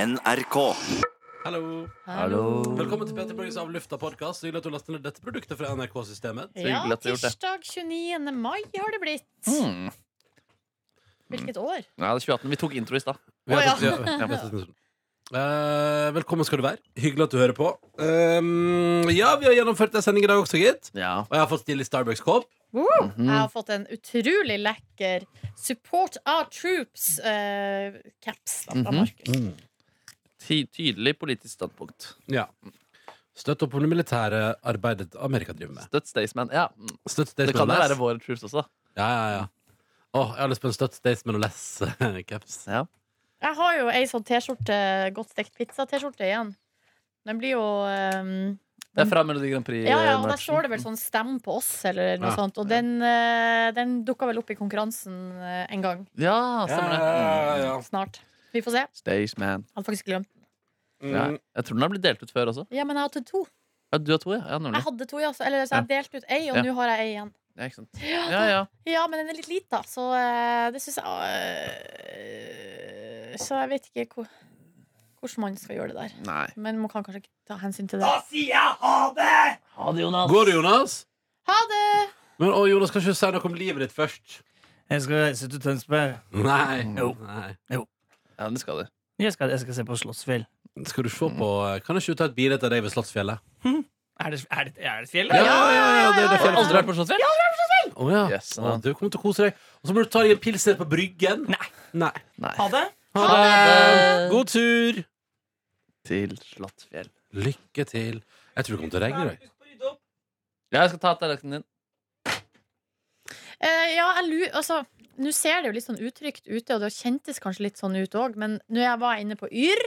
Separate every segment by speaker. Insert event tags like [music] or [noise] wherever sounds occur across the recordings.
Speaker 1: NRK.
Speaker 2: Hallo. Velkommen til Peter Borges Av lufta-podkast. Hyggelig at du laster ned dette produktet fra NRK-systemet.
Speaker 3: Så
Speaker 4: Ja,
Speaker 3: hyggelig at du har gjort det.
Speaker 4: tirsdag 29. mai har det blitt.
Speaker 3: Mm.
Speaker 4: Hvilket år?
Speaker 3: Ja, det er 2018. Vi tok intro i stad.
Speaker 2: Vi har
Speaker 4: Å, ja.
Speaker 2: tatt- vi har- vi har tatt en stund. Eh, velkommen skal du være. Hyggelig at du hører på. Um, ja, vi har gjennomført en sending i dag også, gitt.
Speaker 3: Ja.
Speaker 2: Og jeg har fått stille Starbucks-kopp.
Speaker 4: Woo!
Speaker 3: Mm.
Speaker 4: Jeg
Speaker 2: Mm-hmm.
Speaker 4: har fått en utrolig lekker Support Our Troops-caps fra
Speaker 3: Mhm.
Speaker 4: Markus.
Speaker 3: Ty tydelig politisk standpunkt.
Speaker 2: Ja. Støtt opp om det militære arbeidet Amerika driver med.
Speaker 3: Støtt Staysman. Ja. mm.
Speaker 2: Støtt
Speaker 3: Det
Speaker 2: Staysman
Speaker 3: kan jo
Speaker 2: og
Speaker 3: være
Speaker 2: Less.
Speaker 3: våre troops også.
Speaker 2: Ja, ja, ja. Åh, jeg har lyst på en Støtt Staysman og [laughs] Less-caps.
Speaker 3: Ja.
Speaker 4: Jeg har jo ei sånn T-skjorte, godt stekt pizza-T-skjorte igjen. Den blir jo ehm,
Speaker 3: Det er fra Melodi Grand Prix.
Speaker 4: Ja, ja,
Speaker 3: eh,
Speaker 4: og der
Speaker 3: merchen.
Speaker 4: står det vel sånn 'stem på oss', eller noe
Speaker 2: Ja.
Speaker 4: sånt. Og den, eh, den dukka vel opp i konkurransen eh, en gang
Speaker 3: Ja, stemmer det. Mm.
Speaker 2: ja.
Speaker 4: snart. Vi får se. Jeg
Speaker 3: Staysman.
Speaker 4: hadde faktisk glemt.
Speaker 2: Mm.
Speaker 3: Ja. Jeg tror den har blitt delt ut før også.
Speaker 4: Ja, men jeg hadde to.
Speaker 3: Ja, du har to, ja. ja
Speaker 4: Jeg
Speaker 3: nemlig.
Speaker 4: hadde to, ja. så- Eller så jeg delte ut ei, og
Speaker 3: Mm. Ja.
Speaker 4: nå har jeg ei igjen.
Speaker 3: Ja, ikke sant. ja, ja.
Speaker 4: Ja, men den er litt lita, så eh, det syns jeg eh, Så jeg vet ikke hvor, hvordan man skal gjøre det der.
Speaker 3: Nei.
Speaker 4: Men man kan kanskje ikke ta hensyn til det.
Speaker 3: Ha det, Jonas.
Speaker 2: Går det, Jonas?
Speaker 4: Ha det!
Speaker 2: Men å, Jonas, kan ikke du si noe om livet ditt først?
Speaker 5: Jeg skal reise til Tønsberg.
Speaker 2: Nei.
Speaker 5: Jo.
Speaker 3: Mm.
Speaker 2: Nei.
Speaker 3: Ja, det skal du.
Speaker 5: Jeg skal, jeg skal se på Slottsfjell.
Speaker 2: Skal du se på Kan ikke du ta et bilde av deg ved Slottsfjellet?
Speaker 5: Er det, er det, er det et fjell?
Speaker 2: Ja,
Speaker 5: eller?
Speaker 2: ja, ja, det er det
Speaker 3: Har du
Speaker 2: fjellet.
Speaker 3: aldri vært på Slottsfjell?
Speaker 2: Å, ja.
Speaker 3: Yes,
Speaker 2: Å, du kommer til å kose deg. Og så må du ta deg en pils ned på Bryggen.
Speaker 5: Nei.
Speaker 2: Nei.
Speaker 3: Nei.
Speaker 5: Ha det!
Speaker 2: Ha
Speaker 3: det!
Speaker 2: God tur!
Speaker 3: Til Slottsfjell.
Speaker 2: Lykke til. Jeg tror det kommer til å regne i dag.
Speaker 3: Ja, jeg skal ta tallerkenen din.
Speaker 4: Eh, ja, jeg lurer Altså, nå ser det jo litt sånn utrygt ute, og det kjentes kanskje litt sånn ut òg, men når jeg var inne på Yr,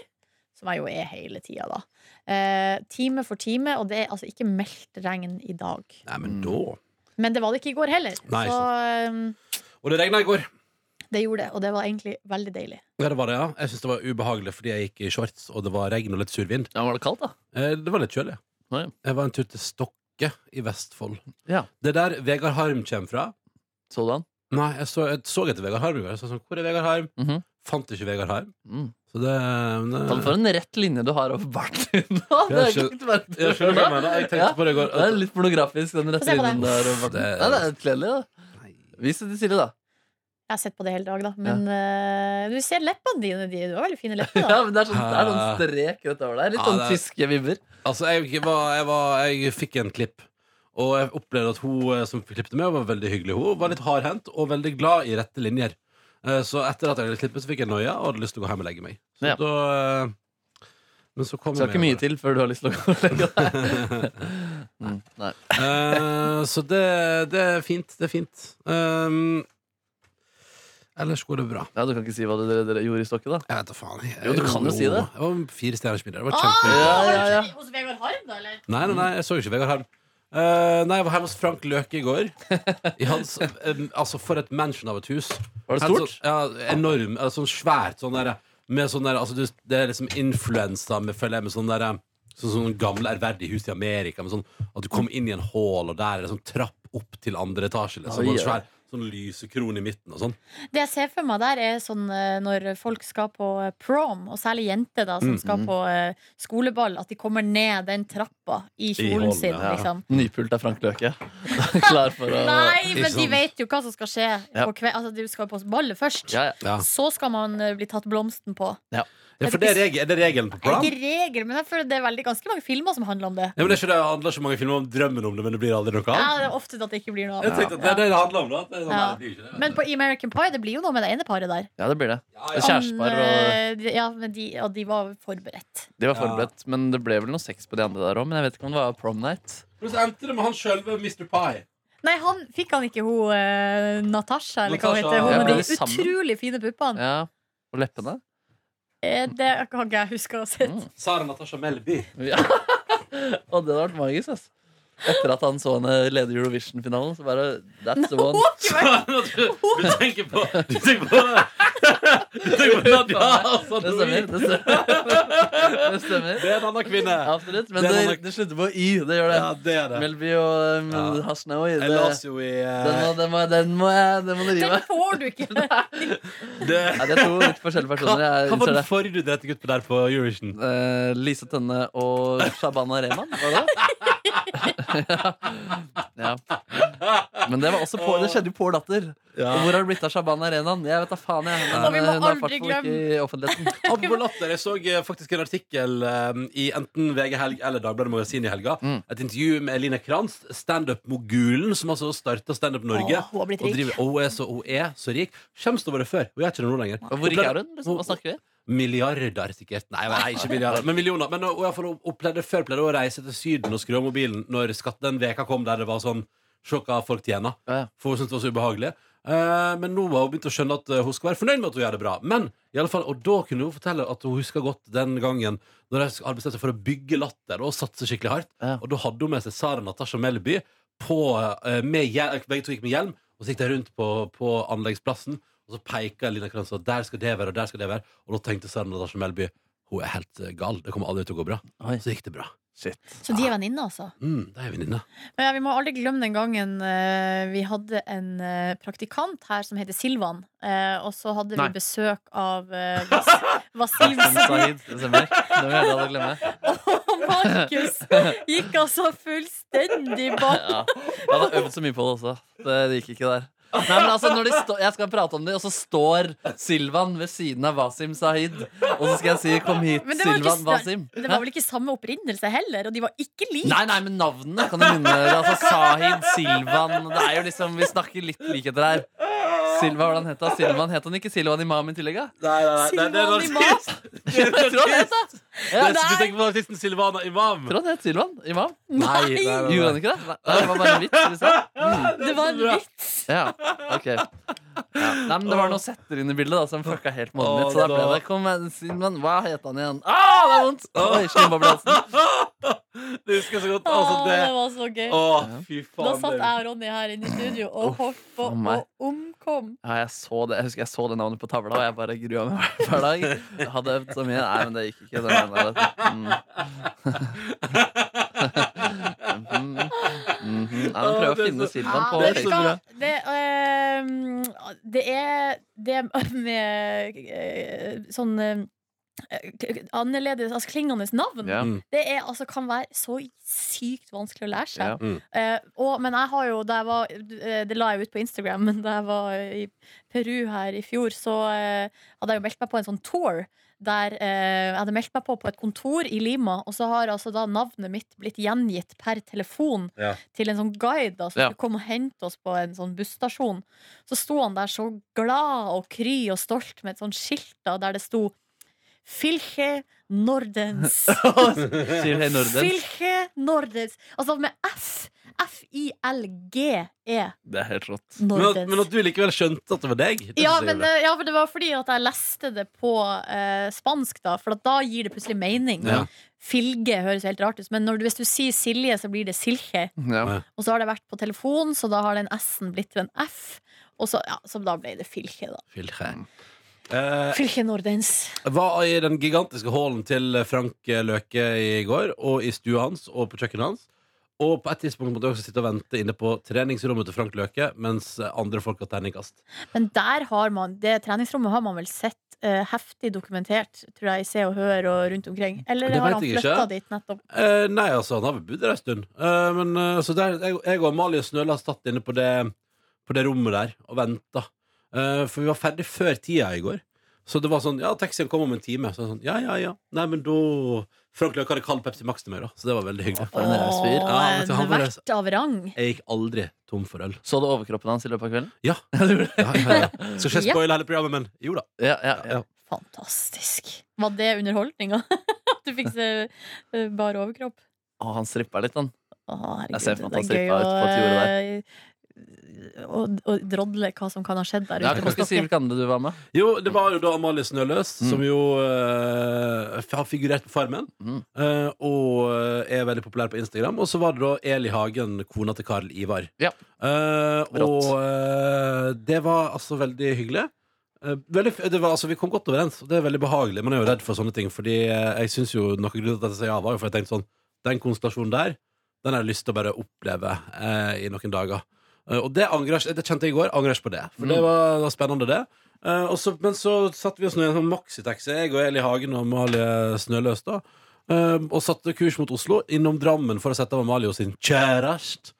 Speaker 4: som jeg jo er hele tida, da, eh, time for time, og det er altså ikke meldt regn i dag.
Speaker 2: Nei,
Speaker 3: Mm.
Speaker 2: men da
Speaker 4: Men det var det ikke i går heller,
Speaker 2: Nei,
Speaker 4: så
Speaker 2: Og det regna i går.
Speaker 4: eh, det gjorde det, og det var egentlig veldig deilig.
Speaker 2: Ja, det var det, ja. Jeg syns det var ubehagelig fordi jeg gikk i shorts, og det var regn og litt survind.
Speaker 3: Ja, var det kaldt, da?
Speaker 2: Eh, Det var litt kjølig.
Speaker 3: Nei.
Speaker 2: Jeg var en tur til Stokke i Vestfold.
Speaker 3: Ja.
Speaker 2: Det er der Vegard Harm kommer fra.
Speaker 3: Så du han?
Speaker 2: Nei, jeg så, jeg så etter Vegard Harm i går. Jeg så sånn, Hvor er Vegard Harm?
Speaker 3: Mhm.
Speaker 2: Fant ikke Vegard Harm.
Speaker 3: Mm.
Speaker 2: Så det, det
Speaker 3: Faen, for en rett linje du har over barten [laughs] din nå. Det
Speaker 2: Jeg
Speaker 3: er
Speaker 2: skjø-
Speaker 3: litt merkelig.
Speaker 2: Jeg skjønner hva jeg mener. Jeg tenkte
Speaker 3: Ja,
Speaker 2: på det i går.
Speaker 3: Det er litt pornografisk, den
Speaker 4: Få
Speaker 3: rette
Speaker 4: se på
Speaker 3: linjen
Speaker 4: det.
Speaker 3: der over barten.
Speaker 2: Det er-
Speaker 3: Nei, det er litt kledelig, da.
Speaker 2: Nei.
Speaker 3: Vis det til Silje, da.
Speaker 4: Jeg har sett på det hele dag, da. Men eh, du ser leppene dine. De. Du har
Speaker 2: [laughs]
Speaker 4: veldig fine lepper.
Speaker 3: Ja,
Speaker 4: Da.
Speaker 3: men det er sånn, det er sånn strek rett over der. Litt
Speaker 2: Ja,
Speaker 3: sånn
Speaker 2: det er-
Speaker 3: tyske vibber.
Speaker 2: Altså, jeg, var, jeg, var, jeg fikk en klipp, og jeg opplevde at hun eh, som klippet meg, var veldig hyggelig. Hun var litt hardhendt og veldig glad i rette linjer. Eh, Så etter at jeg hadde klippet, så fikk jeg noia og hadde lyst til å gå hjem og legge meg. Så
Speaker 3: Ja.
Speaker 2: da, eh, men så kom
Speaker 3: Det skal
Speaker 2: jeg
Speaker 3: ikke
Speaker 2: meg [laughs]
Speaker 3: mye til før du har lyst til å gå og legge deg. Mm, Nei.
Speaker 2: Eh, så det, det er fint. Det er fint. Um, ellers går det bra.
Speaker 3: [laughs] Ja, du kan ikke si hva dere, dere gjorde i stokket, da.
Speaker 2: Jeg vet da faen. Jeg,
Speaker 3: Jo, du kan jo si det.
Speaker 2: Jeg var fire stjerners middag. Det var
Speaker 4: Ah,
Speaker 2: kjempe...
Speaker 3: Ja, ja, ja.
Speaker 4: Hos Vegard Harm, da, eller?
Speaker 2: Nei, nei, nei, jeg så jo ikke Vegard Harm. Eh, nei, jeg var hjemme hos Frank Løke i går. I hans, em, altså For et mansion av et hus.
Speaker 3: Var det
Speaker 2: Helt
Speaker 3: stort?
Speaker 2: sånn- ja, enorm. eh, Sånn svært. Sånn der, med sånn der, altså, det, det er liksom influensa med, føler jeg, med sånn der eh, Sånn sånn gamle, ærverdige hus i Amerika. Med sånn, at du kom inn i en hall, og der er det sånn trapp opp til andre etasje. Liksom,
Speaker 3: Oi,
Speaker 2: og en
Speaker 3: ja.
Speaker 2: svær sånn lysekrone i midten og sånn.
Speaker 4: Det jeg ser for meg der, er sånn eh, når folk skal på eh, prom, og særlig jenter da,
Speaker 2: Mm,
Speaker 4: som skal på eh, skoleball, at de kommer ned den trappa i kjolen
Speaker 2: hånden,
Speaker 4: sin,
Speaker 2: ja.
Speaker 4: liksom.
Speaker 3: Nypult av Frank Løke. [laughs] Klar for å
Speaker 4: Nei, men
Speaker 2: ikke
Speaker 4: de
Speaker 2: sant.
Speaker 4: vet jo hva som skal skje.
Speaker 3: Ja.
Speaker 4: På kve altså, de skal på ballet først.
Speaker 3: Ja, ja.
Speaker 2: Ja.
Speaker 4: Så skal man eh, bli tatt blomsten på.
Speaker 2: Ja, for det er, reg er det regelen på
Speaker 4: Det
Speaker 2: plan?
Speaker 4: er ikke regel, men jeg føler det er veldig ganske mange filmer som handler om det.
Speaker 2: Ja, men det er ikke det, det handler ikke mange filmer om drømmen om det, men det blir aldri noe
Speaker 4: Ja,
Speaker 2: av.
Speaker 4: det er ofte at det ikke blir noe
Speaker 2: Jeg
Speaker 4: av.
Speaker 2: tenkte at det er det det handler om. Da. at Det er sånn,
Speaker 4: Ja.
Speaker 2: nei, det blir ikke det.
Speaker 4: Men på American Pie, det blir jo noe med det ene paret der.
Speaker 3: ja, det blir det.
Speaker 2: Ja,
Speaker 3: Det er Kjærestepar, og
Speaker 4: Han, eh, Ja, men de, og de var forberedt.
Speaker 3: de var forberedt. Men det ble vel noe sex på de andre der òg. Men jeg vet ikke om det var prom night.
Speaker 2: Men så endte det med han sjølve, Mr. Pie.
Speaker 4: Nei, han fikk han ikke hun eh, Natasha, eller hva hun
Speaker 2: Natasha,
Speaker 4: heter. Hun
Speaker 2: ja.
Speaker 4: med
Speaker 3: Ble
Speaker 4: de
Speaker 3: de sammen?
Speaker 4: utrolig fine puppene.
Speaker 3: Ja, Og leppene.
Speaker 4: Eh, Det kan ikke jeg huske å ha sett.
Speaker 3: Mm.
Speaker 2: Sara Natasha [laughs] Melby.
Speaker 3: [laughs] Ja. Og det hadde vært magisk, ass. Etter at han så henne
Speaker 2: [laughs]
Speaker 3: lede Eurovision-finalen, så bare That's the one.
Speaker 2: Du tenker på, du tenker på Det går an, ja, altså,
Speaker 3: Det stemmer. Det stemmer. Det stemmer. [laughs]
Speaker 2: Det er en annen kvinne.
Speaker 3: Absolutt. Men
Speaker 2: Det
Speaker 3: det,
Speaker 2: var nok-
Speaker 3: det slutter på Y. Det gjør det.
Speaker 2: Ja, det er det.
Speaker 3: Melby og um,
Speaker 2: Ja.
Speaker 3: Hasnaoui.
Speaker 2: Jeg
Speaker 3: det-
Speaker 2: las jo i
Speaker 3: Den
Speaker 2: eh,
Speaker 3: må, den, må, den, må jeg, den må du rive.
Speaker 4: Den får du ikke!
Speaker 2: det,
Speaker 3: Ja, det er to litt forskjellige
Speaker 2: Hva,
Speaker 3: personer.
Speaker 2: hva
Speaker 3: Jeg
Speaker 2: var den
Speaker 3: innser det.
Speaker 2: forrige du drepte gutt på der på Eurovision?
Speaker 3: Eh, Lise Tønne og Shabana Rehman, var det? [laughs] ja. Men det var også på, det skjedde jo på Latter.
Speaker 2: Ja. [laughs]
Speaker 3: Og hvor har det blitt av Shabana Rehman? Jeg vet da faen, jeg. Men,
Speaker 4: Og vi må
Speaker 3: eh, hun er
Speaker 4: aldri
Speaker 3: i hvert fall
Speaker 4: glemme-
Speaker 3: ikke i offentligheten.
Speaker 2: Apropos latter, jeg så eh, faktisk en artikkel eh, i enten VG Helg eller Dagbladet Magasin i helga.
Speaker 3: Mm.
Speaker 2: Et intervju med Line Kranz, standup-mogulen som altså starta Standup Norge.
Speaker 4: Åh, hun har blitt
Speaker 2: og
Speaker 4: rik.
Speaker 2: driver og hun er så, hun er så rik. Kjems over det før. Hun er ikke det nå lenger.
Speaker 3: Og hvor rik er hun? Liksom? Hva snakker vi?
Speaker 2: Milliarder, sikkert. Nei, nei ikke milliarder, men millioner. Men hun, hun, hun pleide før pleide hun å reise til Syden og skru av mobilen når skatt, den veka kom der det var sånn Se hva folk tjener.
Speaker 3: Ja.
Speaker 2: For hun syntes det var så ubehagelig. Eh, men nå har hun begynt å skjønne at eh, hun skal være fornøyd med at hun gjør det bra. Men i alle fall, Og da kunne hun fortelle at hun husker godt den gangen Når de hadde bestemt seg for å bygge latter og satse skikkelig hardt.
Speaker 3: Ja.
Speaker 2: Og da hadde hun med seg Sara Natasha Melby. På, eh, med, hjel- begge to gikk med hjelm, og så gikk de rundt på, på anleggsplassen. Og så peker Lina Kranz og der skal det være, og der skal det være. Og da tenkte Sara Natasha Melby hun er helt eh, gal. Det kommer aldri til å gå bra.
Speaker 3: Oi.
Speaker 2: Så gikk det bra.
Speaker 4: Så de er venninner, altså.
Speaker 2: Mm, da er jeg venninne.
Speaker 4: Men ja, vi må aldri glemme den gangen eh, vi hadde en eh, praktikant her som heter Silvan. eh, og så hadde
Speaker 3: Nei.
Speaker 4: vi besøk av eh, Vas Vasil
Speaker 3: Hun sa hit, det stemmer. Det må jeg aldri glemme.
Speaker 4: og Markus. Gikk altså fullstendig bak.
Speaker 3: Ja. Jeg hadde øvd så mye på det også. Det det gikk ikke der. Nei, men altså, når de stå, Jeg skal prate om det, og så står Silvan ved siden av Wasim Sahid. Og så skal jeg si 'kom hit,
Speaker 4: Men det var ikke
Speaker 3: Silvan Wasim'.
Speaker 4: Det var vel ikke samme opprinnelse heller, og de var ikke like.
Speaker 3: Nei, nei, men navnene kan du minne deg. Altså, Sahid, Silvan Det er jo liksom, Vi snakker litt likheter her. Silva, hvordan het han? Silvan, Het han ikke Silvan Imam i tillegg? da?
Speaker 2: Nei, nei,
Speaker 4: Silvan Imam.
Speaker 3: Jeg tror han het
Speaker 4: altså.
Speaker 3: det! Ja,
Speaker 2: [laughs] Du tenker på artisten Silvana Imam?
Speaker 3: jeg tror han het Silvan Imam.
Speaker 2: Nei, nei, nei.
Speaker 3: Gjorde han ikke det? Nei, det var bare en vits. vi sa.
Speaker 4: Det var en vits.
Speaker 3: Ja, ok ja. Nei, men Det var noen setter inn i bildet da som fucka helt måten mitt. Så da ble det kom, med- Simon, Hva het han igjen? Ah, det er vondt! Oi, slimboblehalsen.
Speaker 2: Det husker jeg så godt.
Speaker 4: Å,
Speaker 2: Altså,
Speaker 4: det
Speaker 2: det
Speaker 4: var så gøy.
Speaker 2: Å, fy
Speaker 4: Da
Speaker 2: faen.
Speaker 4: satt
Speaker 2: det-
Speaker 4: jeg og Ronny her inne i studio og holdt på
Speaker 3: faen meg.
Speaker 4: å omkom.
Speaker 3: Ja, jeg, så det. jeg husker jeg så det navnet på tavla, og jeg bare grua meg [laughs] hver- hver dag. Jeg hadde øvd så mye. Nei, men det gikk ikke. Den veien der, [laughs] vet Mm. du. Mm. Mhm. Nei, men prøv
Speaker 2: Å,
Speaker 3: å
Speaker 2: det er
Speaker 3: finne
Speaker 2: så-
Speaker 3: Silvan på
Speaker 4: vet du
Speaker 3: Facebook.
Speaker 4: hva? det, eh, det er det med eh, sånn eh, k- annerledes, altså klingende navn.
Speaker 3: Ja.
Speaker 4: Det er, altså, kan være så sykt vanskelig å lære seg.
Speaker 3: Ja.
Speaker 2: Mm.
Speaker 4: Eh, og, men jeg har jo, da jeg var, eh, det la jeg ut på Instagram, [laughs] men da jeg var i Peru her i fjor, så eh, hadde jeg jo meldt meg på en sånn tour. Der eh, Jeg hadde meldt meg på på et kontor i Lima, og så har altså da navnet mitt blitt gjengitt per telefon
Speaker 2: Ja.
Speaker 4: til en sånn guide da, som
Speaker 3: Ja.
Speaker 4: skulle komme og hente oss på en sånn busstasjon. Så sto han der så glad og kry og stolt med et sånt skilt da, der det sto Filche Nordens.
Speaker 3: [laughs] Sier hei, Norden.
Speaker 4: Filche Nordens. Altså med F. F-I-L-G-E.
Speaker 3: Det er helt rått.
Speaker 2: Men, at, men
Speaker 4: E, Nordens.
Speaker 2: at du likevel skjønte at det var deg? Det
Speaker 4: Ja
Speaker 2: synes jeg
Speaker 4: men,
Speaker 2: er bra.
Speaker 4: eh, ja, men det var fordi at jeg leste det på eh, spansk, da. For at da gir det plutselig mening.
Speaker 2: Ja.
Speaker 4: Filge høres jo helt rart ut, men når du, hvis du sier Silje, så blir det Silje.
Speaker 3: Ja.
Speaker 4: Og så har det vært på telefon, så da har den S-en blitt til en F. Og så, ja, så da ble det Filge, da.
Speaker 2: Filtre. Eh,
Speaker 4: Filge Nordens.
Speaker 2: var i den gigantiske hallen til Frank Løke i går, og i stua hans og på kjøkkenet hans. Og på et tidspunkt måtte jeg også sitte og vente inne på treningsrommet til Frank Løke mens andre folk har terningkast.
Speaker 4: Men der har man Det treningsrommet har man vel sett eh, heftig dokumentert, tror jeg, i Se og Hør og rundt omkring. Eller
Speaker 2: Det vet
Speaker 4: har han
Speaker 2: jeg ikke.
Speaker 4: flytta dit nettopp?
Speaker 2: Eh, nei, altså, han har vel bodd der en stund. Eh, men eh, så der, jeg, jeg og Amalie Snøla satt inne på det, på det rommet der og venta. Eh, for vi var ferdig før tida i går. Så det var sånn Ja, taxien kom om en time. Så jeg sånn, ja, ja, ja. Nei, men da Frank Løke hadde kald Pepsi Max til meg, da. Så det var veldig hyggelig.
Speaker 3: For en raus fyr.
Speaker 4: Åh,
Speaker 2: Ja, vet du,
Speaker 4: en
Speaker 2: han var raus.
Speaker 4: vert av rang.
Speaker 2: Jeg gikk aldri tom for øl.
Speaker 3: Så du overkroppen hans i løpet av kvelden?
Speaker 2: Ja. ja, ja,
Speaker 3: [laughs]
Speaker 2: ja. Skal ikke
Speaker 4: Ja.
Speaker 2: spoile hele programmet, men jo da.
Speaker 3: Ja, ja,
Speaker 2: Ja.
Speaker 3: ja.
Speaker 4: Fantastisk. Var det underholdninga? [laughs] At du fikk se eh, bar overkropp?
Speaker 3: Å, han strippa litt, han.
Speaker 4: Å, herregud,
Speaker 3: Jeg ser for
Speaker 4: det
Speaker 3: meg
Speaker 4: er gøy
Speaker 3: at han strippa
Speaker 4: å,
Speaker 3: ut på et jorde
Speaker 4: eh, å- å drodle hva som kan ha skjedd der
Speaker 3: Ja, kan
Speaker 4: ute.
Speaker 3: ikke
Speaker 4: på
Speaker 3: si
Speaker 4: stokken.
Speaker 3: hvilke andre du var med?
Speaker 2: Jo, det var jo da Amalie Snøløs,
Speaker 3: Mm.
Speaker 2: som jo eh, har figurert på Farmen.
Speaker 3: Mm.
Speaker 2: eh, og eh, er veldig populær på Instagram. Og så var det da Eli Hagen, kona til Karl Ivar.
Speaker 3: Ja.
Speaker 2: Eh,
Speaker 3: Rått.
Speaker 2: og eh, det var altså veldig hyggelig. Eh, Veldig, f- det var, altså, vi kom godt overens, og det er veldig behagelig. Man er jo redd for sånne ting, Fordi eh, jeg synes jo noe grunn til at jeg sa ja, var jo for jeg tenkte sånn Den konstellasjonen der, den har jeg lyst til å bare oppleve eh, i noen dager. Eh, og det angrer jeg Det kjente jeg i går. Angrer jeg ikke på det. For det
Speaker 3: Mm.
Speaker 2: var, det var spennende, det. Eh, og så, men så satte vi oss nå i en sånn maxitaxi, jeg og Eli Hagen og Amalie Snøløs, da. eh, og satte kurs mot Oslo, innom Drammen for å sette av Amalie og sin kjæreste.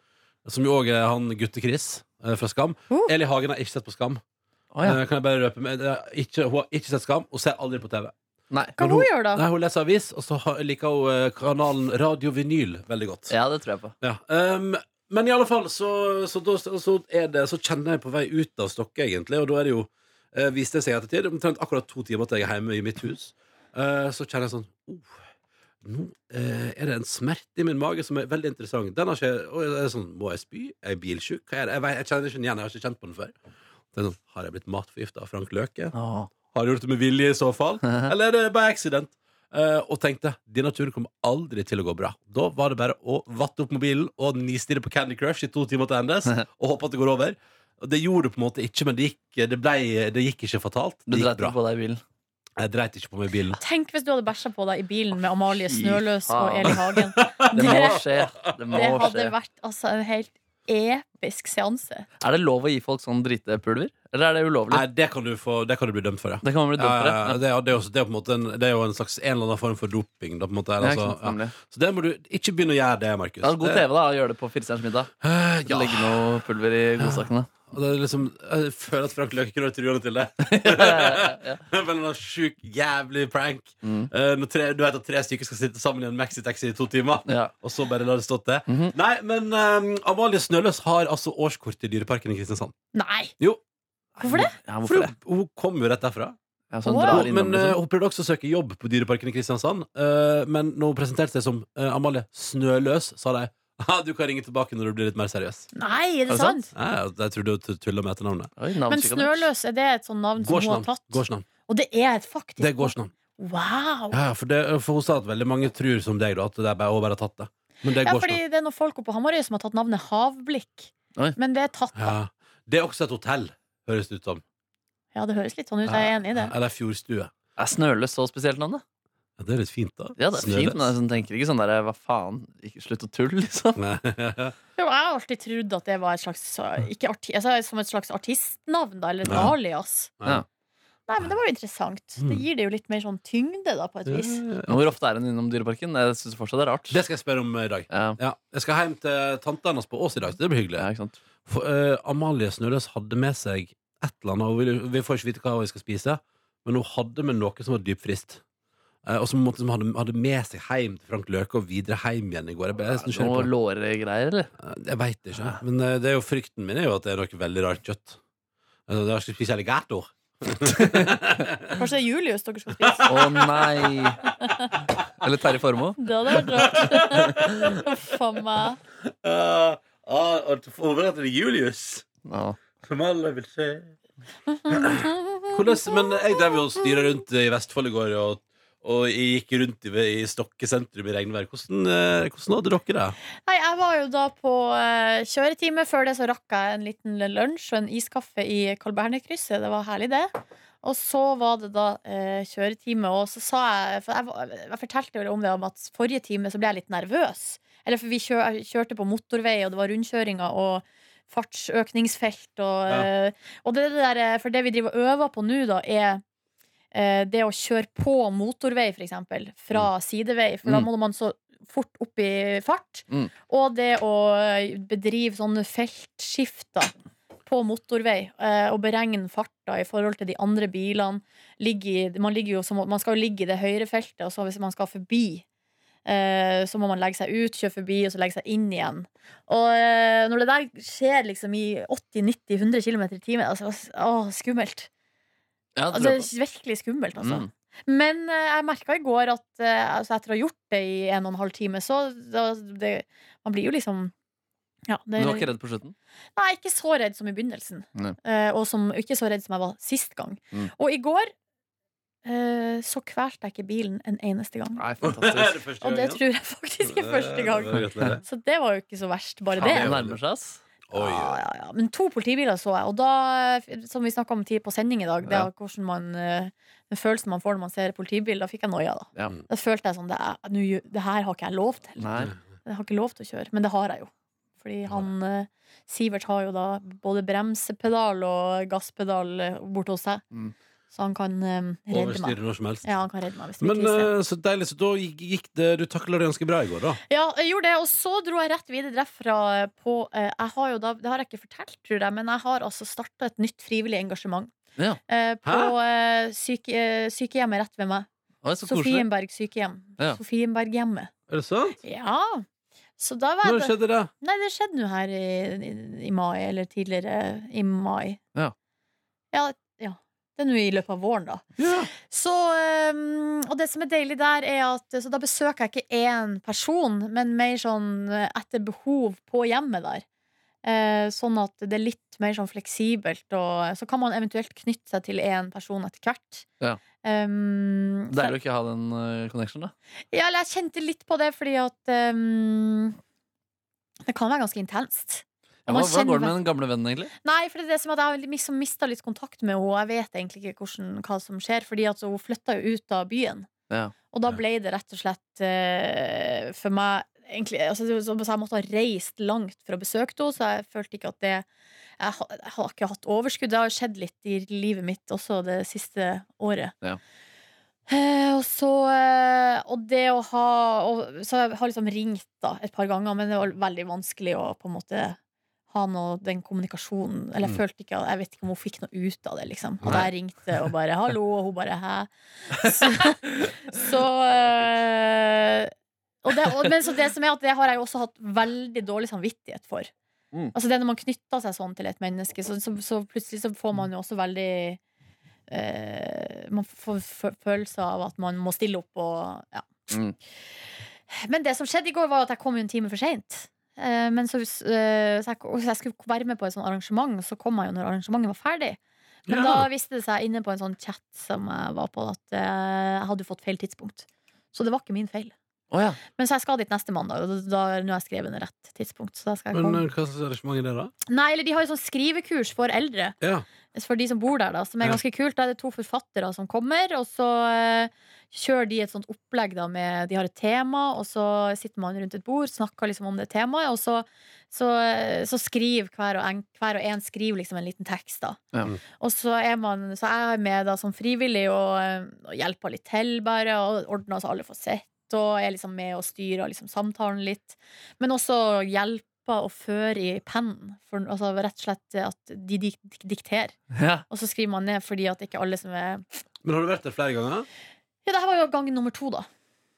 Speaker 2: Som jo òg er han gutte-Chris eh, fra Skam.
Speaker 4: Uh.
Speaker 2: Eli Hagen har ikke sett på Skam.
Speaker 3: Oh. Å, ja.
Speaker 2: Eh, Kan jeg bare røpe med det er ikke, Hun har ikke sett Skam, hun ser aldri på TV.
Speaker 3: Nei.
Speaker 4: Hva
Speaker 2: Men
Speaker 4: hun
Speaker 2: hun-
Speaker 4: gjør da?
Speaker 2: Nei, Hun leser avis, og så har- liker hun eh, kanalen Radio Vinyl veldig godt.
Speaker 3: ja, det tror jeg på.
Speaker 2: Ja, ehm, men i alle fall, så, så, da, så, er det, så kjenner jeg på vei ut av Stokke, egentlig. Og da er det jo, eh, viste det seg i ettertid, omtrent akkurat to timer til jeg er hjemme i mitt hus. Eh, så kjenner jeg sånn oh, Nå eh, er det en smerte i min mage som er veldig interessant. Den har ikke jeg- og jeg er sånn, Må jeg spy? Er jeg bilsjuk? Hva er det? Jeg, vet, jeg kjenner ikke den igjen. Jeg har ikke kjent på den før. Det er sånn, har jeg blitt matforgifta av Frank Løke? Har jeg gjort det med vilje i så
Speaker 3: [laughs]
Speaker 2: fall? Eller er det bare accident? Eh, og tenkte denne turen kommer aldri til å gå bra. Da var det bare å vatte opp mobilen og nistirre på Candy Crush i to timer til
Speaker 3: [laughs]
Speaker 2: endes og håpe at det går over. Og Det gjorde det på en måte ikke, men det gikk, det ble, det gikk ikke fatalt. Det
Speaker 3: Du
Speaker 2: gikk
Speaker 3: dreit
Speaker 2: bra.
Speaker 3: på deg i bilen.
Speaker 2: Jeg dreit ikke på meg i bilen.
Speaker 4: Tenk hvis du hadde bæsja på deg i bilen med Amalie
Speaker 3: Fy
Speaker 4: Snøløs og
Speaker 3: faen.
Speaker 4: Eli
Speaker 3: [laughs]
Speaker 4: Hagen.
Speaker 3: Det må
Speaker 4: Det,
Speaker 3: skje. Det må
Speaker 4: det hadde
Speaker 3: skje.
Speaker 4: vært altså, en helt episk seanse.
Speaker 3: Er det lov å gi folk sånn dritepulver? Eller er det ulovlig?
Speaker 2: Nei, det kan du, få, det kan du bli dømt for, ja.
Speaker 3: Det kan man bli dømt for.
Speaker 2: Ja, ja, ja.
Speaker 3: ja.
Speaker 2: det, er- det, er også, det, er på en måte en, det er jo en slags en eller annen form for doping. Da, på en måte,
Speaker 3: Ja,
Speaker 2: eller,
Speaker 3: ikke sant,
Speaker 2: altså, ja.
Speaker 3: nemlig.
Speaker 2: Så det må du ikke begynne å gjøre det, Markus.
Speaker 3: Ja, god
Speaker 2: Det-
Speaker 3: TV, da. å Gjøre det på Firestjerners middag.
Speaker 2: Eh, ja.
Speaker 3: Legge noe pulver i
Speaker 2: [laughs]
Speaker 3: godsakene.
Speaker 2: Og det er liksom, jeg føler at Frank Løke kunne vært truende til det.
Speaker 3: Ja.
Speaker 2: [laughs] Men han har sjuk, jævlig prank.
Speaker 3: Mm.
Speaker 2: Eh, når tre, du vet at tre stykker skal sitte sammen i en maxitaxi i to timer.
Speaker 3: Ja.
Speaker 2: Og så bare la det stå til.
Speaker 3: Mhm.
Speaker 2: Nei, men eh, Amalie Snøløs har altså årskort til Dyreparken i Kristiansand.
Speaker 4: Nei!
Speaker 2: Jo,
Speaker 4: Hvorfor det?
Speaker 3: Ja,
Speaker 2: for
Speaker 3: hvorfor det?
Speaker 2: hun, hun kom jo rett derfra.
Speaker 3: Ja, så han
Speaker 4: Wow.
Speaker 3: drar
Speaker 2: Hun-
Speaker 3: innom,
Speaker 2: men eh,
Speaker 3: liksom.
Speaker 2: hun prøvde også å søke jobb på Dyreparken i Kristiansand. eh, men når hun presenterte seg som eh, Amalie Snøløs, sa de «Ah, du kan ringe tilbake når du blir litt mer seriøs.
Speaker 4: Nei, er
Speaker 3: Er
Speaker 4: det
Speaker 3: det
Speaker 4: sant?
Speaker 2: Nei, jeg trodde hun tulla med etternavnet.
Speaker 3: Oi,
Speaker 4: Men
Speaker 3: navnskikkerne.
Speaker 4: Snøløs, er det et sånt navn som hun har
Speaker 2: Gårdsnavn.
Speaker 4: tatt?
Speaker 2: Gårdsnavn.
Speaker 4: Og det er et faktisk
Speaker 2: Det er gårdsnavn.
Speaker 4: Wow!
Speaker 2: Ja, ja, for, det, for hun sa at veldig mange tror som deg, da, at det er bare, hun bare har tatt det. Men det
Speaker 4: Ja,
Speaker 2: går
Speaker 4: fordi
Speaker 2: snart.
Speaker 4: det er noen folk oppe på Hamarøy som har tatt navnet Havblikk.
Speaker 3: Oi.
Speaker 4: Men det er tatt,
Speaker 2: Ja.
Speaker 4: da.
Speaker 2: Det er også et hotell, høres det ut som.
Speaker 4: Ja, det høres litt sånn ut. Jeg er enig i det.
Speaker 2: Eller fjordstue.
Speaker 3: Er Snøløs så spesielt navn, da?
Speaker 2: Ja, det er litt fint, da.
Speaker 3: Ja, det er fint, men jeg sånn tenker ikke sånn der Hva faen? Ikke slutt å tulle, [laughs] liksom.
Speaker 2: Snøves.
Speaker 4: Jo, jeg har alltid trodd at det var et slags uh, ikke arti altså, Som et slags artistnavn, da, eller et
Speaker 2: Ja. Mm.
Speaker 4: alias.
Speaker 2: [laughs] Ja.
Speaker 4: Nei, men det var jo interessant. Det gir det jo litt mer sånn tyngde, da, på et vis.
Speaker 3: Men Hvor ofte er hun innom Dyreparken? Jeg syns fortsatt det er rart.
Speaker 2: Det skal jeg spørre om eh, i dag.
Speaker 3: Ja,
Speaker 2: Ja, jeg skal hjem til tanta hennes på Ås i dag. så Det blir hyggelig.
Speaker 3: ja, ikke sant?
Speaker 2: For, eh, Amalie Snøløs hadde med seg et eller annet. Hun ville, vi får ikke vite hva hun skal spise, men hun hadde med noe som var dypfrist. Eh, og som, hun måtte- som hadde, hadde med seg hjem til Frank Løke og videre hjem igjen i går. Jeg ble, jeg, er så nysgjerrig på
Speaker 3: Noe
Speaker 2: det.
Speaker 3: låregreier, eller?
Speaker 2: Eh, Jeg veit ikke. Men eh, det er jo frykten min er jo at det er noe veldig rart kjøtt. Altså, Jeg skal spise alligator.
Speaker 4: Kanskje det er Julius dere skal spise?
Speaker 2: [laughs]
Speaker 3: Å nei! [laughs] Eller Terje Formoe?
Speaker 4: Det hadde vært rart. [laughs] Faen meg.
Speaker 2: Uh, Overnatter til Julius,
Speaker 3: Ja.
Speaker 2: som alle vil se. Hvordan, men jeg drev jo og styra rundt i Vestfold i går, og, og jeg gikk rundt i, i Stokke sentrum i regnvær. Hvordan, eh, hvordan hadde dere det?
Speaker 4: Nei, jeg var jo da på eh, kjøretime. Før det så rakk jeg en liten lunsj og en iskaffe i Carl Berner-krysset. Det var herlig, det. Og så var det da eh, kjøretime, og så sa jeg For jeg, var- jeg fortalte jo om det om at forrige time så ble jeg litt nervøs. Eller for vi kjør, jeg kjørte på motorvei, og det var rundkjøringer og fartsøkningsfelt og eh, Og det der, eh, for det vi driver og øver på nå, da, er eh, det å kjøre på motorvei, for eksempel, fra sidevei. For da
Speaker 3: Mm.
Speaker 4: må man så fort opp i fart.
Speaker 3: Mm.
Speaker 4: Og det å bedrive sånne feltskifter på motorvei eh, og beregne farta i forhold til de andre bilene. Ligge i, man, ligger jo, som- man skal jo ligge i det høyre feltet, og så hvis man skal forbi, eh, så må man legge seg ut, kjøre forbi, og så legge seg inn igjen. Og eh, når det der skjer liksom i 80-90-100 km i timen, altså, å, skummelt.
Speaker 3: Ja,
Speaker 4: Altså,
Speaker 3: tror
Speaker 4: det
Speaker 3: jeg på.
Speaker 4: er virkelig skummelt, altså.
Speaker 3: Mm.
Speaker 4: Men eh, jeg merka i går at eh, altså, etter å ha gjort det i en og en halv time, så da, det, Man blir jo liksom ja, det,
Speaker 3: Men du var ikke redd på slutten?
Speaker 4: Nei, ikke så redd som i begynnelsen.
Speaker 3: Nei.
Speaker 4: Eh, og som, ikke så redd som jeg var sist gang.
Speaker 3: Mm.
Speaker 4: Og i går eh, så kvalte jeg ikke bilen en eneste gang.
Speaker 3: Nei, [laughs] fantastisk.
Speaker 2: første
Speaker 4: Og det tror jeg faktisk er første gang.
Speaker 2: Eh,
Speaker 3: [laughs]
Speaker 2: Det er greit, det er det.
Speaker 4: Så det var jo ikke så verst, bare
Speaker 3: Faen, det
Speaker 4: det.
Speaker 3: nærmer seg, ass.
Speaker 2: Oi.
Speaker 4: Ja, ja, ja. Men to politibiler så jeg, og da, som vi snakka om tid på sending i dag, det
Speaker 3: Ja.
Speaker 4: er hvordan man, eh, den følelsen man får når man ser politibil, da fikk jeg noia, da.
Speaker 3: Ja.
Speaker 4: Da følte jeg sånn det, er, nå gjø- det her har ikke jeg lov til.
Speaker 3: Nei.
Speaker 4: Jeg har ikke lov til å kjøre, men det har jeg jo. Fordi han eh, Sivert har jo da både bremsepedal og gasspedal eh, borte hos seg.
Speaker 3: Mm.
Speaker 4: Så han kan eh, redde meg.
Speaker 2: Overstyre når som helst.
Speaker 4: Ja, han kan redde meg hvis det
Speaker 2: Men
Speaker 4: blir krise.
Speaker 2: eh, så deilig. Så da gikk gikk det Du takla det ganske bra i går, da.
Speaker 4: Ja, jeg gjorde det, og så dro jeg rett videre derfra eh, på eh, Jeg har jo da, det har jeg ikke fortalt, tror jeg, men jeg har altså starta et nytt frivillig engasjement.
Speaker 3: Ja.
Speaker 4: eh, på eh, syke, eh, sykehjemmet rett ved meg.
Speaker 3: Oi, så koselig.
Speaker 4: Sofienberg sykehjem.
Speaker 3: Ja.
Speaker 4: Sofienberghjemmet.
Speaker 2: Er det sant?
Speaker 4: Ja. Så da var jeg
Speaker 2: Når skjedde det?
Speaker 4: Nei, det skjedde nå her i, i, i mai, eller tidligere i mai.
Speaker 3: Ja.
Speaker 4: Ja, ja. Det er nå i løpet av våren, da.
Speaker 2: Ja.
Speaker 4: Så, øhm, og det som er deilig der, er at så da besøker jeg ikke én person, men mer sånn eh, etter behov på hjemmet der. Eh, sånn at det er litt mer sånn fleksibelt, og eh, så kan man eventuelt knytte seg til én person etter hvert.
Speaker 3: Ja.
Speaker 4: Ehm, så-
Speaker 3: Deilig å ikke ha den uh, connection, da.
Speaker 4: ja, eller jeg kjente litt på det fordi at ehm, Det kan være ganske intenst.
Speaker 3: Ja,
Speaker 4: Og
Speaker 3: hva,
Speaker 4: man kjenner
Speaker 3: hvordan går det med den gamle vennen, egentlig?
Speaker 4: Nei, for det er det som at jeg har liksom mista litt kontakt med henne. og Jeg vet egentlig ikke hvordan, hva som skjer, fordi at hun flytta jo ut av byen.
Speaker 3: Ja.
Speaker 4: Og da ble det rett og slett eh, for meg egentlig, altså, det var som- så Jeg måtte ha reist langt for å besøke henne, så jeg følte ikke at det Jeg, ha- jeg har ikke hatt overskudd. Det har skjedd litt i livet mitt også det siste året.
Speaker 3: Ja.
Speaker 4: Eh, og så eh, Og det å ha og, Så jeg har liksom ringt da et par ganger, men det var veldig vanskelig å på en måte ha noe, den kommunikasjonen
Speaker 3: Mm.
Speaker 4: Eller jeg følte ikke Jeg vet ikke om hun fikk noe ut av det, liksom. At
Speaker 2: Nei.
Speaker 4: jeg ringte og bare 'hallo', og hun bare
Speaker 3: [laughs]
Speaker 4: 'hæ'. Så, så øh, og det, og, Men så det som er at det har jeg jo også hatt veldig dårlig samvittighet for.
Speaker 3: Mm.
Speaker 4: Altså det Når man knytter seg sånn til et menneske, så, så, så plutselig så får man jo også veldig øh, Man får fø- følelse av at man må stille opp og ja.
Speaker 3: Mm.
Speaker 4: Men det som skjedde i går, var at jeg kom jo en time for seint. Eh, Men så, eh, så, jeg, og så jeg skulle være med på et sånt arrangement, så kom jeg jo når arrangementet var ferdig. Men
Speaker 2: Ja.
Speaker 4: da visste det seg inne på en sånn chat som jeg var på, at eh, jeg hadde fått feil tidspunkt. Så det var ikke min feil.
Speaker 3: Å ja.
Speaker 4: Men så jeg skal dit neste mandag, og da, da, nå har jeg skrevet ned rett tidspunkt. Så da skal jeg
Speaker 2: Men
Speaker 4: komme.
Speaker 2: eh, hva slags arrangement er det, da?
Speaker 4: Nei, eller de har jo sånn skrivekurs for eldre.
Speaker 2: Ja.
Speaker 4: For de som bor der, da, som er
Speaker 2: Ja.
Speaker 4: ganske kult. Da er det to forfattere som kommer, og så eh, kjører de et sånt opplegg da med De har et tema, og så sitter man rundt et bord, snakker liksom om det temaet, og så, så, eh, så skriver hver og, en, hver og en skriver liksom en liten tekst, da.
Speaker 3: Ja.
Speaker 2: Mm.
Speaker 4: Og så er man Så jeg er med da som frivillig og, eh, og hjelper litt til, bare, og ordner så alle får sett. Og er liksom med og styrer liksom samtalen litt. Men også hjelper å føre i pennen. For, altså, rett og slett at de dik dikterer.
Speaker 3: ja.
Speaker 4: Og så skriver man ned fordi at ikke alle som er
Speaker 2: Men har du vært der flere ganger?
Speaker 4: Ja, det her var jo gang nummer to, da.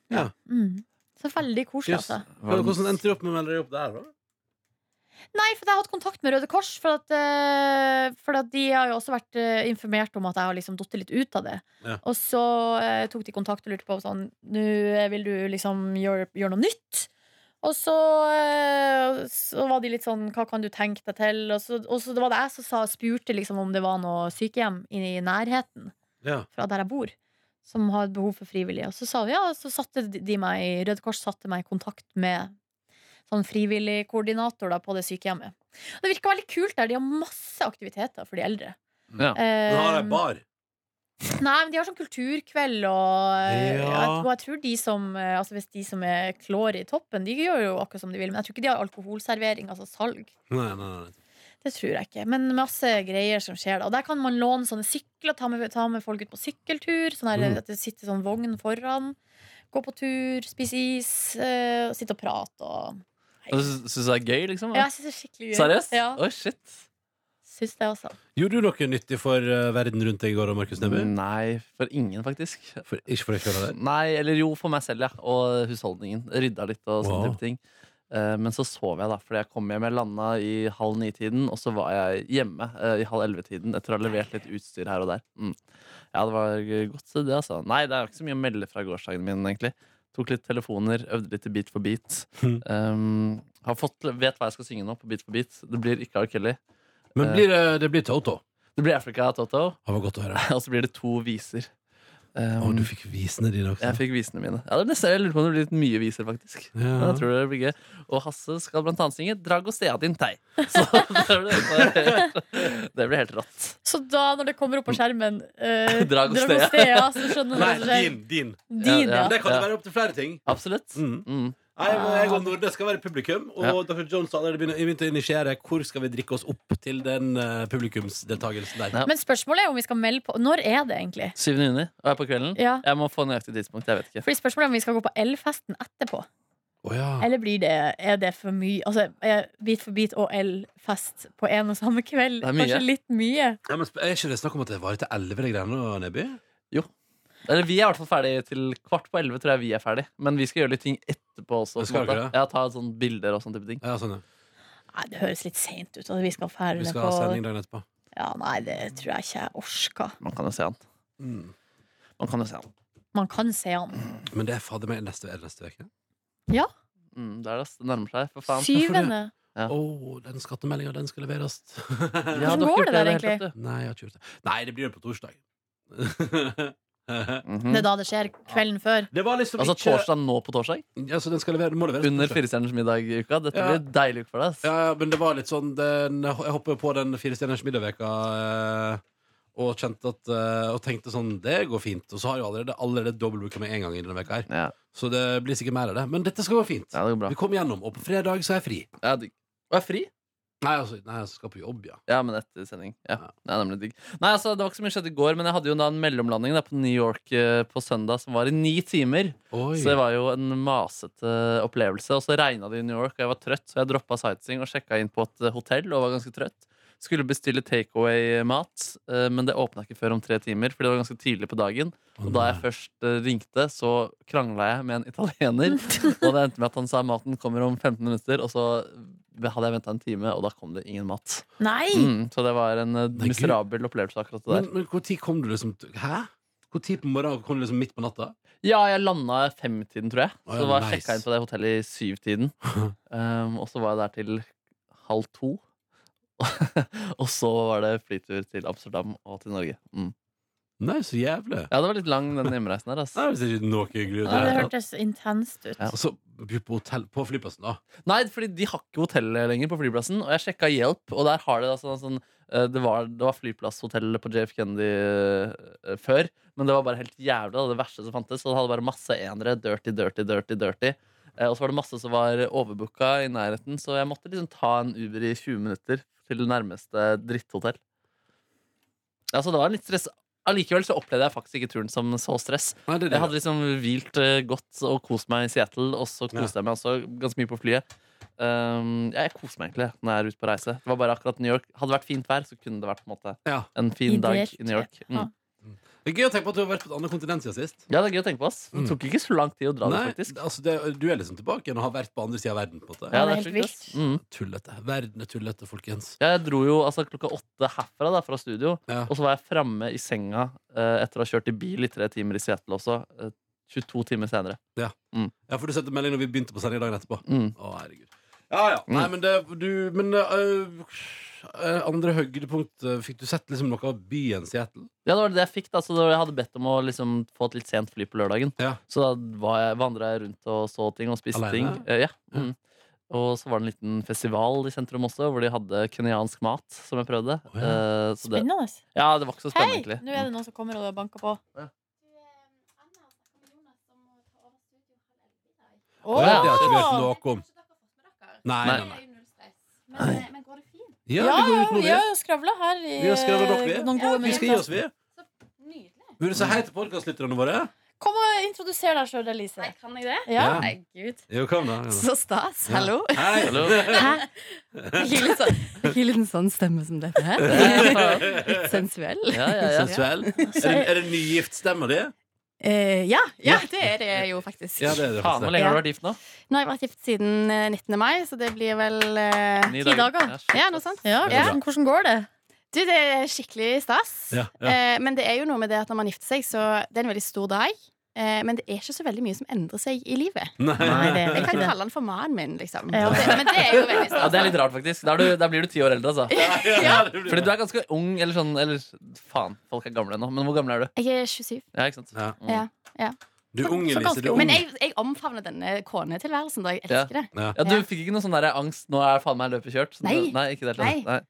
Speaker 2: Ja.
Speaker 4: Mm. Så veldig koselig,
Speaker 2: Yes.
Speaker 4: altså.
Speaker 2: Hvordan hvordan endte du opp med å melde deg opp
Speaker 4: Um,
Speaker 2: der, da?
Speaker 4: Nei, for jeg har hatt kontakt med Røde Kors, for at, eh, for at de har jo også vært eh, informert om at jeg har liksom datt litt ut av det.
Speaker 2: Ja.
Speaker 4: Og så eh, tok de kontakt og lurte på sånn Nå eh, vil du liksom gjøre, gjøre noe nytt? Og så, eh, så var de litt sånn Hva kan du tenke deg til? Og så, og så det var det jeg som sa, spurte liksom om det var noe sykehjem i nærheten.
Speaker 2: Ja.
Speaker 4: fra der jeg bor, som har et behov for frivillige. Og så sa vi ja, og så satte de- de meg i Røde Kors satte meg i kontakt med sånn frivillig koordinator da, på det sykehjemmet. Og det virka veldig kult der. De har masse aktiviteter for de eldre.
Speaker 3: Ja.
Speaker 2: Men har
Speaker 4: Eh,
Speaker 2: jeg bar?
Speaker 4: nei, men de har sånn kulturkveld, og,
Speaker 2: Ja.
Speaker 4: og jeg tror de som eh, Altså hvis de som er klår i toppen, de gjør jo akkurat som de vil, men jeg tror ikke de har alkoholservering, altså salg.
Speaker 2: Nei, nei, nei.
Speaker 4: Det tror jeg ikke, men masse greier som skjer da. Og der kan man låne sånne sykler, ta med, ta med folk ut på sykkeltur. Sånn her,
Speaker 2: Mm.
Speaker 4: At det sitter sånn vogn foran. Gå på tur, spise is, eh, og sitte og prate og
Speaker 3: Og Du syns syns det er gøy, liksom?
Speaker 4: Ja, jeg syns det er skikkelig gøy.
Speaker 3: Seriøst?
Speaker 4: Ja,
Speaker 3: Oi, shit.
Speaker 4: syns det også.
Speaker 2: Gjorde du noe nyttig for eh, verden rundt deg i går, Markus Neby?
Speaker 3: Nei, for ingen, faktisk.
Speaker 2: For, ikke for deg sjøl, eller?
Speaker 3: Nei, eller jo, for meg selv, ja. Og husholdningen. Rydda litt og sånne
Speaker 2: Wow.
Speaker 3: type ting. Eh, Men så sov jeg, da. Fordi jeg kom hjem. Jeg landa i halv ni-tiden, og så var jeg hjemme eh, i halv elleve-tiden etter å ha levert litt utstyr her og der. Mm. Ja, det var godt, så det, altså. Nei, det er ikke så mye å melde fra gårsdagen min, egentlig. Tok litt telefoner, øvde litt i Beat for beat.
Speaker 2: Mhm.
Speaker 3: Um, har fått, vet hva jeg skal synge nå på Beat for beat. Det blir ikke R. Kelly.
Speaker 2: Men blir det, det blir Toto.
Speaker 3: Det blir Africa Toto,
Speaker 2: Det
Speaker 3: [laughs]
Speaker 2: var godt å høre.
Speaker 3: og så blir det to viser. Um,
Speaker 2: Å, du fikk visene dine også.
Speaker 3: Jeg fikk visene mine. Ja, det er nesten, jeg lurer på om det blir litt mye viser, faktisk. Men
Speaker 2: Ja.
Speaker 3: jeg tror det blir gøy. Og Hasse skal blant annet synge 'Dragostea din tei'. [laughs] Så det
Speaker 2: [laughs]
Speaker 3: blir, det blir helt rått.
Speaker 4: Så da, når det kommer opp på skjermen
Speaker 2: [laughs]
Speaker 4: eh,
Speaker 3: Dragostea.
Speaker 4: Dragostea, så skjønner du hva
Speaker 2: Nei,
Speaker 4: som skjer.
Speaker 2: din. din.
Speaker 4: Din, ja.
Speaker 3: Ja,
Speaker 2: Men det kan
Speaker 3: Ja.
Speaker 2: jo være opp til flere ting.
Speaker 3: Absolutt.
Speaker 2: Mm.
Speaker 3: Mm.
Speaker 2: Nei, men jeg og Nordnes skal være publikum, og
Speaker 3: Ja.
Speaker 2: Dr. Jones har allerede begynt- begynt å initiere hvor skal vi drikke oss opp til den eh, publikumsdeltagelsen der.
Speaker 3: Ja.
Speaker 4: Men spørsmålet er om vi skal melde på Når er det egentlig?
Speaker 3: 7. juni. Og jeg er på kvelden.
Speaker 4: Ja.
Speaker 3: Jeg må få nøyaktig tidspunkt. Jeg vet ikke.
Speaker 4: Fordi spørsmålet er om vi skal gå på elfesten etterpå.
Speaker 2: Å ja.
Speaker 4: Eller blir det, er det for mye Altså, er Bit for bit og elfest på en og samme kveld
Speaker 3: Det er mye.
Speaker 4: kanskje litt mye?
Speaker 2: Ja, men sp- er ikke det snakk om at det varer til 11 de greiene, nå, Neby?
Speaker 3: Eller vi er i hvert fall ferdig til kvart på elleve, tror jeg vi er ferdig. Men vi skal gjøre litt ting etterpå også.
Speaker 2: Men skal
Speaker 3: på en
Speaker 2: dere
Speaker 3: måte. Ja, ta sånn bilder og sånn type ting.
Speaker 2: Ja, sånn, ja.
Speaker 4: Nei, det høres litt seint ut. At vi skal ferde
Speaker 2: Vi skal ha
Speaker 4: på
Speaker 2: sending dagen etterpå.
Speaker 4: Ja, Nei, det tror jeg ikke jeg orker.
Speaker 3: Man kan jo se han.
Speaker 2: Mm.
Speaker 3: Man kan jo se han.
Speaker 4: Man kan se han.
Speaker 2: Men det er fader meg neste, er det neste uke.
Speaker 3: Mm, det er det. ass. Det nærmer seg, for faen.
Speaker 4: Syvende.
Speaker 2: Å, den skattemeldinga, den skal
Speaker 3: [laughs]
Speaker 2: leveres.
Speaker 3: Ja, du
Speaker 4: Hvordan
Speaker 3: har ikke
Speaker 4: går
Speaker 3: gjort
Speaker 4: det der,
Speaker 3: helt, vet du.
Speaker 2: Nei, jeg har ikke gjort det. Nei, det blir på torsdag. [laughs]
Speaker 3: Mhm.
Speaker 4: Det er da det skjer. Kvelden før.
Speaker 2: det var liksom
Speaker 3: Altså
Speaker 2: ikke
Speaker 3: torsdag nå på torsdag?
Speaker 2: Ja, så den skal levere, den må leveres på
Speaker 3: Under
Speaker 2: torsdag.
Speaker 3: Firestjerners middag i uka. Dette
Speaker 2: Ja.
Speaker 3: blir en deilig uke for deg. ass.
Speaker 2: Ja, ja, men det var litt sånn den, Jeg hoppet på den firestjerners middagveka eh, og kjente at eh, Og tenkte sånn, det går fint. Og så har jeg jo allerede, allerede dobbeltbooka med en gang i denne veka her.
Speaker 3: Ja.
Speaker 2: Så det blir sikkert mer av det. Men dette skal gå fint.
Speaker 3: Ja, det går bra.
Speaker 2: Vi kom gjennom, og på fredag så er jeg fri.
Speaker 3: Ja, digg. Og jeg er fri?
Speaker 2: Nei, altså, nei, jeg skal på jobb, ja.
Speaker 3: Ja, men etter sending. Ja, det er nemlig digg. Nei, altså, det var ikke så mye skjedd i går, men jeg hadde jo da en mellomlanding da, på New York eh, på søndag som var i ni timer.
Speaker 2: Oi.
Speaker 3: Så det var jo en masete opplevelse. Og så regna det i New York, og jeg var trøtt, så jeg droppa sightseeing og sjekka inn på et eh, hotell og var ganske trøtt. Skulle bestille takeaway-mat, eh, men det åpna ikke før om tre timer, fordi det var ganske tidlig på dagen.
Speaker 2: Å,
Speaker 3: Og da jeg
Speaker 2: nei.
Speaker 3: først eh, ringte, så krangla jeg med
Speaker 2: [laughs]
Speaker 3: en italiener. Og det endte med at han sa maten kommer om 15 minutter, og så hadde jeg venta en time, og da kom det ingen mat.
Speaker 4: Nei!
Speaker 3: Mm, så det var en eh,
Speaker 2: Nei, Gud.
Speaker 3: miserabel opplevelse, akkurat det der.
Speaker 2: Men, men hvor tid kom du liksom t- Hæ? Hvor tid på morgenen kom du liksom midt på natta?
Speaker 3: Ja, jeg landa femtiden, tror jeg.
Speaker 2: Å, ja,
Speaker 3: Så var
Speaker 2: nice.
Speaker 3: jeg sjekka inn på det hotellet i syvtiden.
Speaker 2: [laughs]
Speaker 3: Um, og så var jeg der til halv to. [laughs] og så var det flytur til Amsterdam og til Norge. Mm.
Speaker 2: Nei, så jævlig.
Speaker 3: Ja, det var litt lang den hjemreisen her. Ass.
Speaker 2: Nei, det er ikke noe hyggelig.
Speaker 4: Ja, det
Speaker 2: ut.
Speaker 4: hørtes intenst ut.
Speaker 3: Ja. altså.
Speaker 2: Og så by på hotell på flyplassen, da.
Speaker 3: Nei, fordi de har ikke hotell lenger på flyplassen. Og jeg sjekka hjelp, og der har det altså sånn eh, det var, det var flyplasshotellet på JF Kennedy eh, før, men det var bare helt jævlig. da, Det verste som fantes. Og det hadde bare masse enere. Dirty, dirty, dirty. dirty. Eh, og så var det masse som var overbooka i nærheten, så jeg måtte liksom ta en Uber i 20 minutter til det nærmeste dritthotell. Ja, så det var litt stress. Allikevel så opplevde jeg faktisk ikke turen som så stress.
Speaker 2: Nei, det er det.
Speaker 3: Jeg hadde liksom hvilt eh, godt og kost meg i Seattle, og så koste jeg meg også ganske mye på flyet. Um, jeg koser meg egentlig når jeg er ute på reise. Det var bare akkurat New York Hadde det vært fint vær, så kunne det vært på en, måte,
Speaker 2: Ja.
Speaker 3: en fin
Speaker 4: Ideelt,
Speaker 3: dag i New York.
Speaker 4: ja.
Speaker 3: Mm.
Speaker 2: Det er gøy å tenke på at du har vært på et annet kontinent siden sist.
Speaker 3: Ja, det er gøy å tenke på. Ass. Det
Speaker 2: Mm.
Speaker 3: tok ikke så lang tid å dra
Speaker 2: Nei,
Speaker 3: dit, faktisk.
Speaker 2: altså det, du er liksom tilbake igjen og har vært på andre siden av verden. på en måte
Speaker 4: Ja, det er
Speaker 3: sjukt,
Speaker 4: helt
Speaker 3: ass. Mm.
Speaker 2: Tullete. Verden er tullete, folkens.
Speaker 3: Ja, jeg dro jo altså, klokka åtte herfra da, fra studio,
Speaker 2: Ja.
Speaker 3: og så var jeg framme i senga eh, etter å ha kjørt i bil i tre timer i Seattle også. eh, 22 timer senere.
Speaker 2: ja, for du sendte melding når vi begynte på sending dagen etterpå.
Speaker 3: Mm.
Speaker 2: Å, herregud. Ja, ja. Nei, men det du, Men øh, øh, andre høydepunkt øh, Fikk du sett liksom noe av byen Seattle?
Speaker 3: Ja, det var det jeg fikk. da, så det var, Jeg hadde bedt om å liksom, få et litt sent fly på lørdagen.
Speaker 2: Ja.
Speaker 3: Så da var jeg, vandra jeg rundt og så ting og spiste
Speaker 2: Alene?
Speaker 3: ting. Eh, ja. Mm. Og så var det en liten festival i sentrum også, hvor de hadde kenyansk mat, som jeg prøvde.
Speaker 2: Å, ja.
Speaker 3: Eh, så det,
Speaker 4: Spennende.
Speaker 3: ja, det var ikke så
Speaker 4: Hei!
Speaker 3: spennende, egentlig. [laughs]
Speaker 4: Nå er det noen som kommer og banker på.
Speaker 3: Ja.
Speaker 4: Å,
Speaker 2: Å, ja, det har ikke vi hørt noe om. Nei, nei,
Speaker 3: Nei.
Speaker 2: nei.
Speaker 1: Men, men går det fint?
Speaker 2: Ja, vi går
Speaker 4: Ja,
Speaker 2: ut
Speaker 4: ja,
Speaker 2: nå,
Speaker 4: vi
Speaker 2: vi.
Speaker 4: har jo skravla her i
Speaker 2: Vi har skravlet nok, vi.
Speaker 4: eh, noen gode
Speaker 2: Vi skal gi
Speaker 4: minutter.
Speaker 2: oss, vi.
Speaker 1: Nydelig.
Speaker 2: Vil du si hei til podkastlytterne våre?
Speaker 4: Kom og introduser deg sjøl, Elise.
Speaker 1: Nei, kan jeg det?
Speaker 4: Ja.
Speaker 2: Ja.
Speaker 1: Nei, gud.
Speaker 2: Jo, kom da. kom da.
Speaker 1: Så stas.
Speaker 2: Ja.
Speaker 1: Hallo.
Speaker 2: Hei. [laughs]
Speaker 3: Hallo.
Speaker 1: Hæ? [laughs] Ikke litt sånn, ikke litt en sånn stemme som dette her. Litt sensuell.
Speaker 3: Ja, ja, ja.
Speaker 2: Sensuell. Er det, er det nygiftsstemma di?
Speaker 1: Eh, ja, ja, det er det jo faktisk.
Speaker 2: Ja, det er det.
Speaker 3: Faen, hvor
Speaker 2: faktisk.
Speaker 3: lenge har du vært gift nå?
Speaker 1: Nå har jeg vært gift siden eh, 19. mai, så det blir vel eh,
Speaker 3: Ni
Speaker 4: Ti dager.
Speaker 3: Ja, shit,
Speaker 1: Ja,
Speaker 3: ass.
Speaker 1: noe sånt.
Speaker 4: Ja,
Speaker 2: Ja.
Speaker 4: hvordan, hvordan går det?
Speaker 1: Du, det er skikkelig stas.
Speaker 2: Ja, ja.
Speaker 1: Eh, men det er jo noe med det at når man gifter seg, så det er en veldig stor dag. Eh, men det er ikke så veldig mye som endrer seg i livet.
Speaker 2: Nei.
Speaker 4: det
Speaker 1: Jeg
Speaker 4: er
Speaker 1: kan
Speaker 4: ikke det.
Speaker 1: kalle han for mannen min, liksom.
Speaker 4: Ja.
Speaker 1: Det, men det er jo veldig
Speaker 3: Ja,
Speaker 1: stas.
Speaker 3: Det er litt rart, faktisk. Da, er du, da blir du ti år eldre, altså.
Speaker 2: Ja, det blir-
Speaker 3: Fordi du er ganske ung, eller sånn eller, Faen, folk er gamle nå. Men hvor gammel er du?
Speaker 1: Jeg er 27.
Speaker 3: Ja, ikke sant?
Speaker 2: Ja.
Speaker 1: Ja, ja.
Speaker 2: Du er ung,
Speaker 1: Så
Speaker 2: Elise.
Speaker 1: ganske
Speaker 2: Du er
Speaker 1: ung. Men
Speaker 2: ung.
Speaker 1: jeg, jeg omfavner denne konetilværelsen, da. Jeg elsker det.
Speaker 2: Ja.
Speaker 3: Ja, Du
Speaker 1: Ja.
Speaker 3: fikk ikke noe sånn der angst? Nå er faen meg løpet kjørt?
Speaker 1: Nei.
Speaker 3: Nei, ikke det,
Speaker 1: Nei.
Speaker 3: Nei.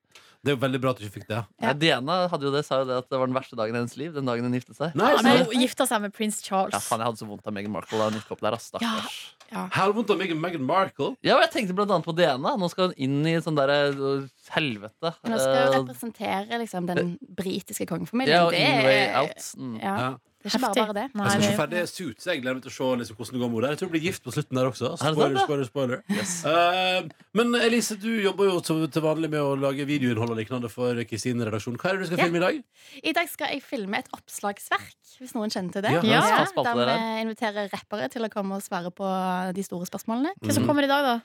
Speaker 2: Det er jo veldig bra at du ikke fikk det.
Speaker 1: Ja.
Speaker 3: Nei, Diana hadde jo det, sa jo det at det var den verste dagen i hennes liv. Den dagen hun giftet seg.
Speaker 2: Nei,
Speaker 4: Han
Speaker 2: så-
Speaker 4: har jo gifta seg med prins Charles.
Speaker 3: Ja, faen, Jeg hadde så vondt av Meghan Markle da hun gikk opp der. ass, Stakkars.
Speaker 2: Her er det vondt av meg og Meghan Markle.
Speaker 3: Ja, og Jeg tenkte blant annet på Diana. Nå skal hun inn i sånn derre øh, helvete.
Speaker 1: Men han skal jo
Speaker 3: Eh,
Speaker 1: representere liksom, den britiske
Speaker 3: ja,
Speaker 1: kongefamilien.
Speaker 3: og
Speaker 1: Det
Speaker 3: in way
Speaker 1: er,
Speaker 3: out. Mm.
Speaker 1: ja,
Speaker 2: Ja.
Speaker 1: det er ikke bare bare det.
Speaker 4: Nei,
Speaker 2: Jeg skal
Speaker 4: det-
Speaker 2: se ferdig Suits. Jeg gleder meg til å se liksom, hvordan det går med henne. Jeg tror hun blir gift på slutten der også.
Speaker 3: sant,
Speaker 2: Spoiler,
Speaker 3: da?
Speaker 2: spoiler, spoiler. Eh, men Elise, du jobber jo som til vanlig med å lage videoinnhold og lignende for Kristine-redaksjonen. Hva er det du skal
Speaker 1: Ja.
Speaker 2: filme i dag?
Speaker 1: I dag skal jeg filme et oppslagsverk, hvis noen kjenner til det.
Speaker 2: Ja,
Speaker 4: Ja.
Speaker 3: pass på alt
Speaker 1: Der
Speaker 3: det
Speaker 1: vi
Speaker 3: der.
Speaker 1: inviterer rappere til å komme og svare på de store spørsmålene.
Speaker 4: Hvem som kommer i dag, da?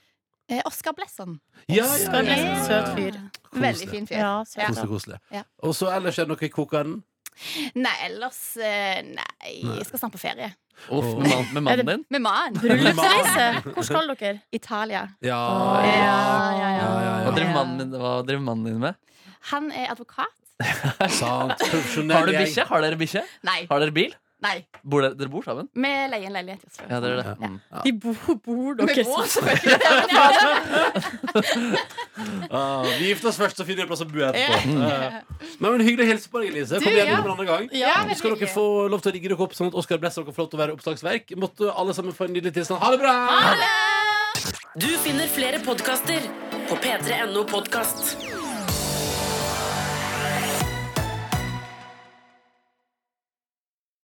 Speaker 1: Eh, Oskar Blesson.
Speaker 2: Ja,
Speaker 4: Skal bli en søt fyr.
Speaker 1: Veldig fin fyr.
Speaker 4: Ja, så-
Speaker 1: Ja.
Speaker 2: Koselig, koselig.
Speaker 1: Ja.
Speaker 2: Og så ellers er det noe i kokeren.
Speaker 1: Nei, ellers eh, Nei, jeg skal snart på ferie.
Speaker 3: Uff, med, man, med
Speaker 4: Er
Speaker 3: mannen
Speaker 4: det-
Speaker 3: din?
Speaker 1: Med mannen.
Speaker 4: Bryllupsreise! Hvor skal dere?
Speaker 1: Italia.
Speaker 2: Ja.
Speaker 4: ja,
Speaker 2: ja,
Speaker 3: Hva driver mannen din, hva driver mannen din med?
Speaker 1: Han er advokat.
Speaker 2: Sant. Profesjonell
Speaker 3: Har du
Speaker 2: gjeng.
Speaker 3: bikkje? Har dere bikkje?
Speaker 1: Nei.
Speaker 3: Har dere bil?
Speaker 1: nei.
Speaker 3: Bor dere, dere bor sammen?
Speaker 1: Vi leier en leilighet i Oslo.
Speaker 3: Ja, dere gjør det.
Speaker 1: Ja.
Speaker 3: Mm.
Speaker 4: De bor, bor dere sånn?
Speaker 1: Vi bor selvfølgelig der, men ja.
Speaker 2: Ah, vi gifter oss først, så finner vi en plass å bo etterpå. Eh, Nei, men Hyggelig å hilse på deg, Elise. Kom
Speaker 1: Du,
Speaker 2: igjen
Speaker 1: ja.
Speaker 2: en annen gang.
Speaker 1: Ja,
Speaker 2: Nå skal dere få lov til å rigge dere opp sånn at Oskar Blesser kan få lov til å være oppslagsverk. Måtte alle sammen få en nydelig tilstand. Ha det bra!
Speaker 6: Du finner flere podkaster på p3.no podkast.